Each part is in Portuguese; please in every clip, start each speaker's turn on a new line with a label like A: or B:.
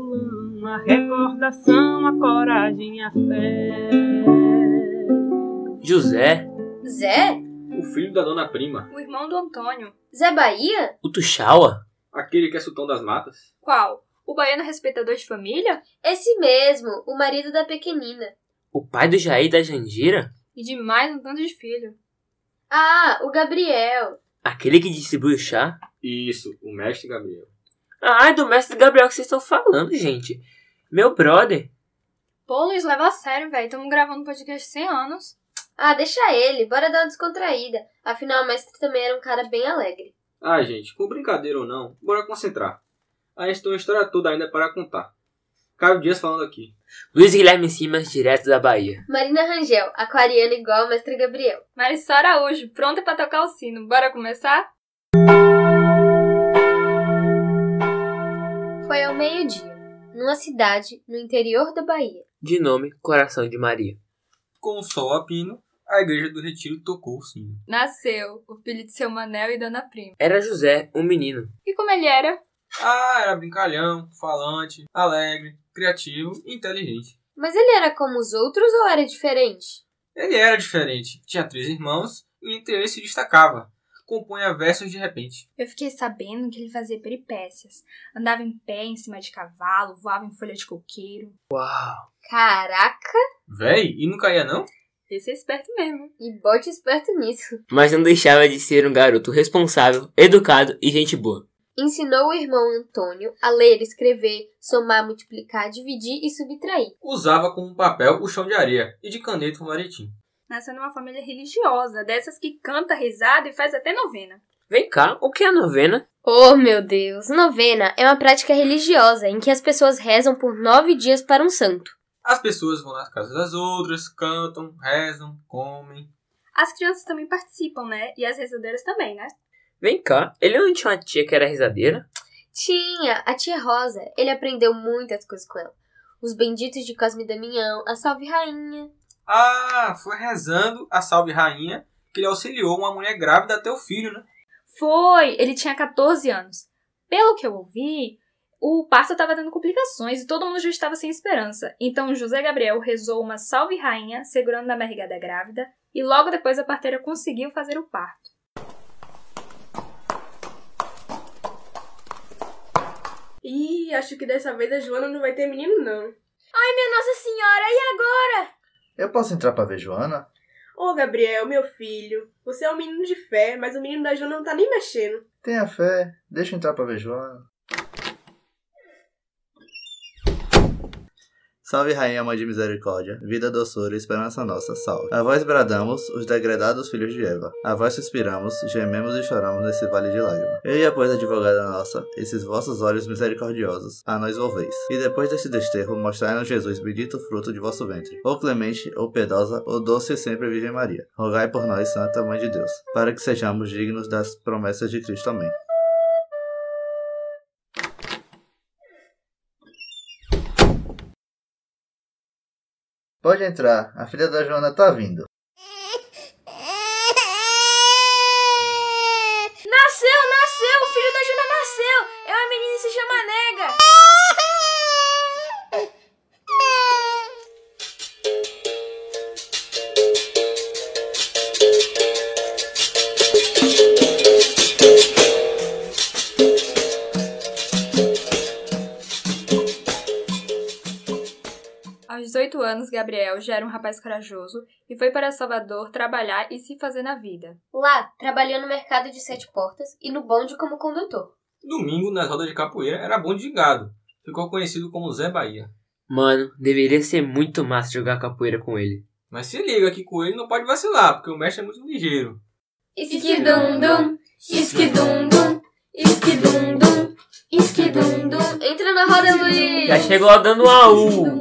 A: uma recordação, a coragem, e a fé.
B: José,
C: Zé,
D: O filho da dona prima,
C: o irmão do Antônio. Zé Bahia?
B: o Tuxaua,
D: aquele que é sultão das matas.
C: Qual? O baiano respeitador de família?
E: Esse mesmo, o marido da pequenina.
B: o pai do Jair da Jandira,
C: E de mais um tanto de filho.
E: Ah, o Gabriel.
B: aquele que distribui o chá.
D: Isso, o mestre Gabriel.
B: Ah, é do mestre Gabriel que vocês estão falando, gente. Meu brother.
C: Pô, Luiz, leva a sério, velho. Estamos gravando podcast 100 anos.
E: Ah, deixa ele, bora dar uma descontraída. Afinal, o mestre também era um cara bem alegre.
D: Ah, gente, com brincadeira ou não, bora concentrar. A gente tem uma história toda ainda para contar. Caio Dias falando aqui.
B: Luiz Guilherme Simas, direto da Bahia.
E: Marina Rangel, aquariana igual o mestre Gabriel.
C: Marissa Araújo, pronta pra tocar o sino. Bora começar?
E: Foi ao meio-dia, numa cidade no interior da Bahia.
B: De nome, Coração de Maria.
D: Com o sol a pino, a igreja do retiro tocou o sino.
C: Nasceu o filho de seu Manel e Dona Prima.
B: Era José, um menino.
C: E como ele era?
D: Ah, era brincalhão, falante, alegre, criativo e inteligente.
E: Mas ele era como os outros ou era diferente?
D: Ele era diferente, tinha três irmãos e entre eles se destacava. Compunha versos de repente.
C: Eu fiquei sabendo que ele fazia peripécias. Andava em pé, em cima de cavalo, voava em folha de coqueiro.
B: Uau!
E: Caraca,
D: Véi, e não caía não?
C: Esse é esperto mesmo.
E: e bote esperto nisso.
B: Mas não deixava de ser um garoto responsável, educado e gente boa.
E: Ensinou o irmão Antônio a ler, escrever, somar, multiplicar, dividir e subtrair.
D: Usava como papel o chão de areia e de caneta o maretim.
C: Nasceu numa família religiosa, dessas que canta risada e faz até novena.
B: Vem cá, o que é a novena?
E: Oh, meu Deus! Novena é uma prática religiosa em que as pessoas rezam por nove dias para um santo.
D: As pessoas vão nas casas das outras, cantam, rezam, comem.
C: As crianças também participam, né? E as rezadeiras também, né?
B: Vem cá, ele não tinha uma tia que era risadeira?
E: Tinha a tia Rosa. Ele aprendeu muitas coisas com ela. Os benditos de Cosme e Damião, a Salve Rainha.
D: Ah, foi rezando a salve rainha que ele auxiliou uma mulher grávida até o filho, né?
C: Foi! Ele tinha 14 anos. Pelo que eu ouvi, o parto estava tendo complicações e todo mundo já estava sem esperança. Então José Gabriel rezou uma salve rainha, segurando na barriga da grávida, e logo depois a parteira conseguiu fazer o parto.
F: Ih, acho que dessa vez a Joana não vai ter menino, não.
E: Minha Nossa Senhora, e agora?
G: Eu posso entrar pra ver Joana?
F: Ô, Gabriel, meu filho, você é um menino de fé, mas o menino da Joana não tá nem mexendo.
G: Tenha fé, deixa eu entrar pra ver Joana. Salve, Rainha, Mãe de Misericórdia, Vida, doçura e esperança nossa, salve. A vós bradamos, os degredados filhos de Eva. A vós suspiramos, gememos e choramos nesse vale de lágrimas. Eu e pois, advogada nossa, esses vossos olhos misericordiosos, a nós volveis. E depois desse desterro, mostrai-nos Jesus, bendito fruto de vosso ventre. Ou clemente, ou piedosa, ou doce e sempre Virgem Maria. Rogai por nós, Santa Mãe de Deus, para que sejamos dignos das promessas de Cristo. Amém. Pode entrar, a filha da Joana tá vindo.
F: Nasceu, nasceu! O filho da Joana nasceu! É uma menina e se chama Nega!
C: Aos 18 anos, Gabriel já era um rapaz corajoso e foi para Salvador trabalhar e se fazer na vida.
E: Lá, trabalhou no mercado de sete portas e no bonde como condutor.
D: Domingo, nas rodas de capoeira, era bonde de gado. Ficou conhecido como Zé Bahia.
B: Mano, deveria ser muito massa jogar capoeira com ele.
D: Mas se liga que com ele não pode vacilar, porque o mestre é muito ligeiro.
E: Esquidum-dum, esquidum-dum, esquidum-dum, esquidum-dum. Entra na roda, Luiz!
B: Já chegou dando um AU!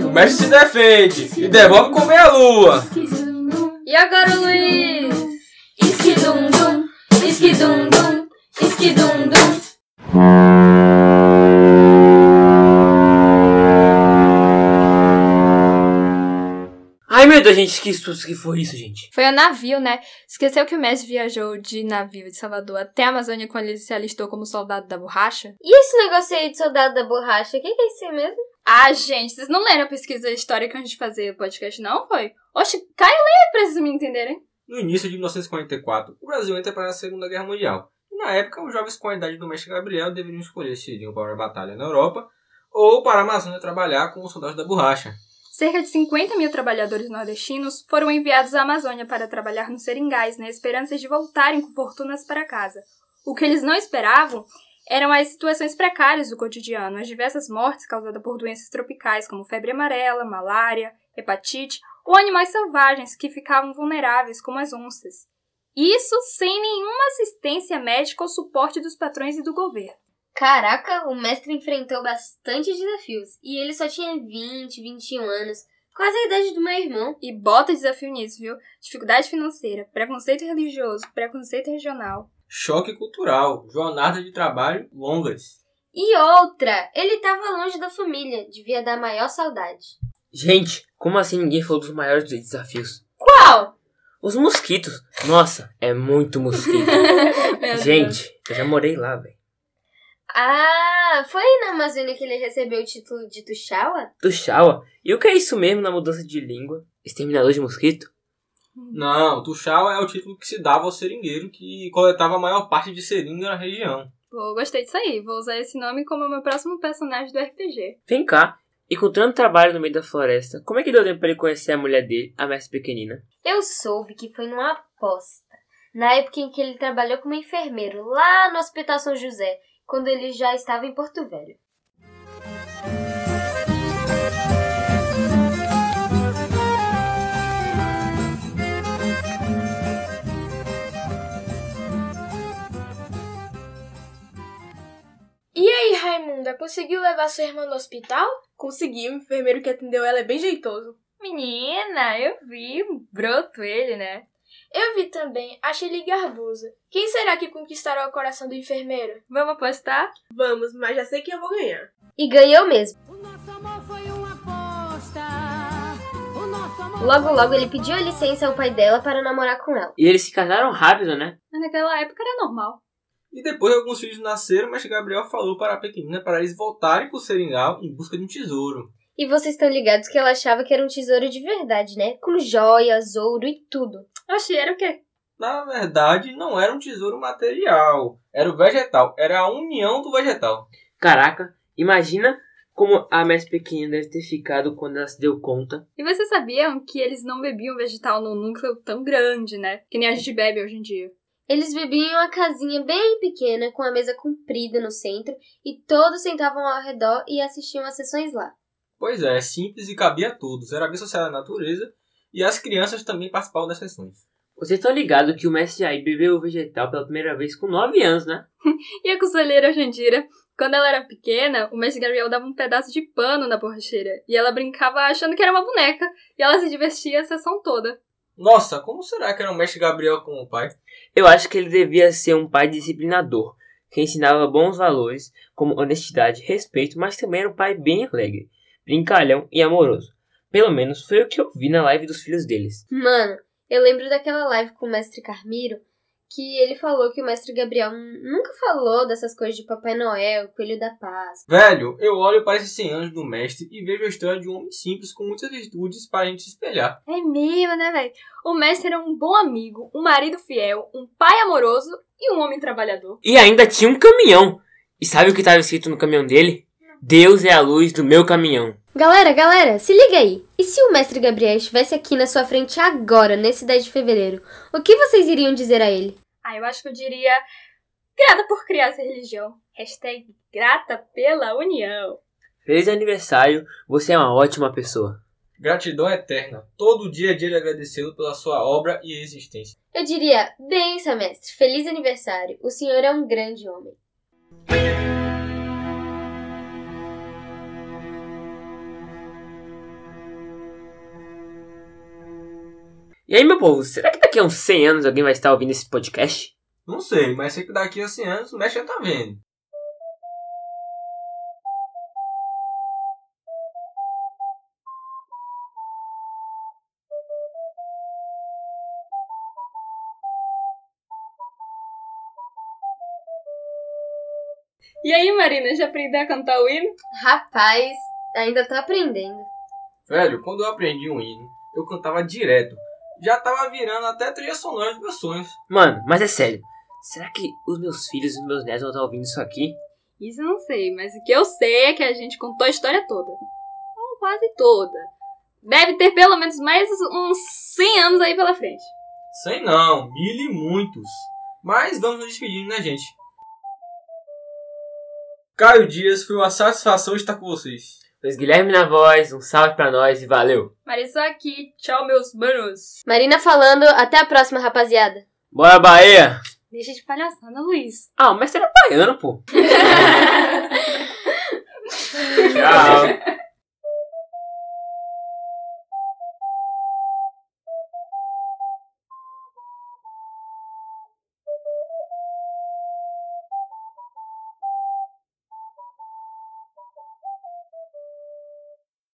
D: O mestre se defende e devolve com meia lua.
E: E agora, Luiz? Esquidum-dum, esquidum-dum, esquidum-dum.
B: Ai meu Eita, gente, que susto que foi isso, gente.
C: Foi a navio, né? Esqueceu que o mestre viajou de navio de Salvador até a Amazônia quando ele se alistou como soldado da borracha?
E: E esse negócio aí de soldado da borracha? O que, que é isso aí mesmo?
C: Ah, gente, vocês não leram a pesquisa histórica antes de fazer o podcast, não? Foi? Oxe, cai e lê pra vocês me entenderem.
D: No início de e 1944, o Brasil entra para a Segunda Guerra Mundial. E, na época, os jovens com a idade do mestre Gabriel deveriam escolher se iriam para a batalha na Europa ou para a Amazônia trabalhar com os soldados da borracha.
C: Cerca de 50 mil trabalhadores nordestinos foram enviados à Amazônia para trabalhar nos seringais, na esperança de voltarem com fortunas para casa. O que eles não esperavam eram as situações precárias do cotidiano, as diversas mortes causadas por doenças tropicais, como febre amarela, malária, hepatite, ou animais selvagens que ficavam vulneráveis, como as onças. Isso sem nenhuma assistência médica ou suporte dos patrões e do governo.
E: Caraca, o mestre enfrentou bastante desafios. E ele só tinha 20, 21 anos. Quase a idade do meu irmão.
C: E bota desafio nisso, viu? Dificuldade financeira, preconceito religioso, preconceito regional.
D: Choque cultural, jornada de trabalho longas.
E: E outra, ele tava longe da família. Devia dar maior saudade.
B: Gente, como assim ninguém falou dos maiores dos desafios?
E: Qual?
B: Os mosquitos. Nossa, é muito mosquito.
C: Meu Deus.
B: gente, eu já morei lá, velho.
E: Ah, foi aí na Amazônia que ele recebeu o título de Tuxaua?
B: Tuxaua. E o que é isso mesmo na mudança de língua? Exterminador de mosquito?
D: Não, Tuxau é o título que se dava ao seringueiro que coletava a maior parte de seringa na região.
C: Pô, gostei disso aí. Vou usar esse nome como meu próximo personagem do RPG.
B: Vem cá. E com tanto trabalho no meio da floresta, como é que deu tempo pra ele conhecer a mulher dele, a mestre pequenina?
E: Eu soube que foi numa aposta. Na época em que ele trabalhou como enfermeiro lá no Hospital São José, quando ele já estava em Porto Velho.
H: E aí, Raimunda, conseguiu levar sua irmã no hospital?
F: Consegui, o enfermeiro que atendeu ela é bem jeitoso.
C: Menina, eu vi um broto ele, né?
H: Eu vi também, achei ele garboso. Quem será que conquistará o coração do enfermeiro?
C: Vamos apostar?
F: Vamos, mas já sei que eu vou ganhar.
E: E ganhou mesmo. Logo, logo ele pediu a licença ao pai dela para namorar com ela.
B: E eles se casaram rápido, né?
C: Mas naquela época era normal.
D: E depois que alguns filhos nasceram, mas Gabriel falou para a pequenina para eles voltarem para o seringal em busca de um tesouro.
E: E vocês estão ligados que ela achava que era um tesouro de verdade, né? Com joias, ouro e tudo.
C: Achei, era o quê?
D: Na verdade, não era um tesouro material, era o vegetal, era a união do vegetal.
B: Caraca, imagina como a mestre pequenina deve ter ficado quando ela se deu conta.
C: E vocês sabiam que eles não bebiam vegetal num núcleo tão grande, né? Que nem a gente bebe hoje em dia.
E: Eles bebiam em uma casinha bem pequena, com a mesa comprida no centro, e todos sentavam ao redor e assistiam às sessões lá.
D: Pois é, simples e cabia a todos, era bem associada à natureza e as crianças também participavam das sessões.
B: Vocês estão ligados que o mestre Jair bebeu o vegetal pela primeira vez com 9 anos, né?
C: E a conselheira Jandira, quando ela era pequena, o mestre Gabriel dava um pedaço de pano na borracheira e ela brincava achando que era uma boneca e ela se divertia a sessão toda.
D: Nossa, como será que era o mestre Gabriel com o pai?
B: Eu acho que ele devia ser um pai disciplinador, que ensinava bons valores, como honestidade, respeito, mas também era um pai bem alegre, brincalhão e amoroso. Pelo menos foi o que eu vi na live dos filhos deles.
E: Mano, eu lembro daquela live com o mestre Carmiro que ele falou que o mestre Gabriel n- nunca falou dessas coisas de Papai Noel, Coelho da Páscoa.
D: Velho, eu olho para esses 100 anos do mestre e vejo a história de um homem simples com muitas virtudes para a gente se espelhar.
C: É mesmo, né, velho? O mestre era um bom amigo, um marido fiel, um pai amoroso e um homem trabalhador.
B: E ainda tinha um caminhão. E sabe o que estava escrito no caminhão dele? Deus é a luz do meu caminhão.
E: Galera, galera, se liga aí. E se o mestre Gabriel estivesse aqui na sua frente agora, nesse 10 de fevereiro, o que vocês iriam dizer a ele?
C: Ah, eu acho que eu diria grata por criar essa religião. Hashtag grata pela união.
B: Feliz aniversário, você é uma ótima pessoa.
D: Gratidão eterna. Todo dia a dia ele agradeceu pela sua obra e existência.
E: Eu diria, benção, mestre, feliz aniversário. O senhor é um grande homem.
B: E aí, meu povo, será que daqui a uns 100 anos alguém vai estar ouvindo esse podcast?
D: Não sei, mas sei que daqui a 100 anos o mestre já tá vendo.
C: E aí, Marina, já aprendeu a cantar o hino?
E: Rapaz, ainda tô aprendendo.
D: Velho, quando eu aprendi um hino, eu cantava direto. Já tava virando até trilha sonora dos meus sonhos.
B: Mano, mas é sério. Será que os meus filhos e os meus netos vão estar ouvindo isso aqui?
C: Isso eu não sei, mas o que eu sei é que a gente contou a história toda. Ou quase toda. Deve ter pelo menos mais uns 100 anos aí pela frente.
D: Sei não, mil e muitos. Mas vamos nos despedindo, né, gente? Caio Dias, foi uma satisfação estar com vocês.
B: Luiz Guilherme na voz, um salve pra nós e valeu.
C: Marisa aqui. Tchau, meus manos.
E: Marina falando, até a próxima, rapaziada.
B: Bora Bahia!
C: Deixa de palhaçada, Luiz.
B: Ah, o mestre era baiano, pô. Tchau.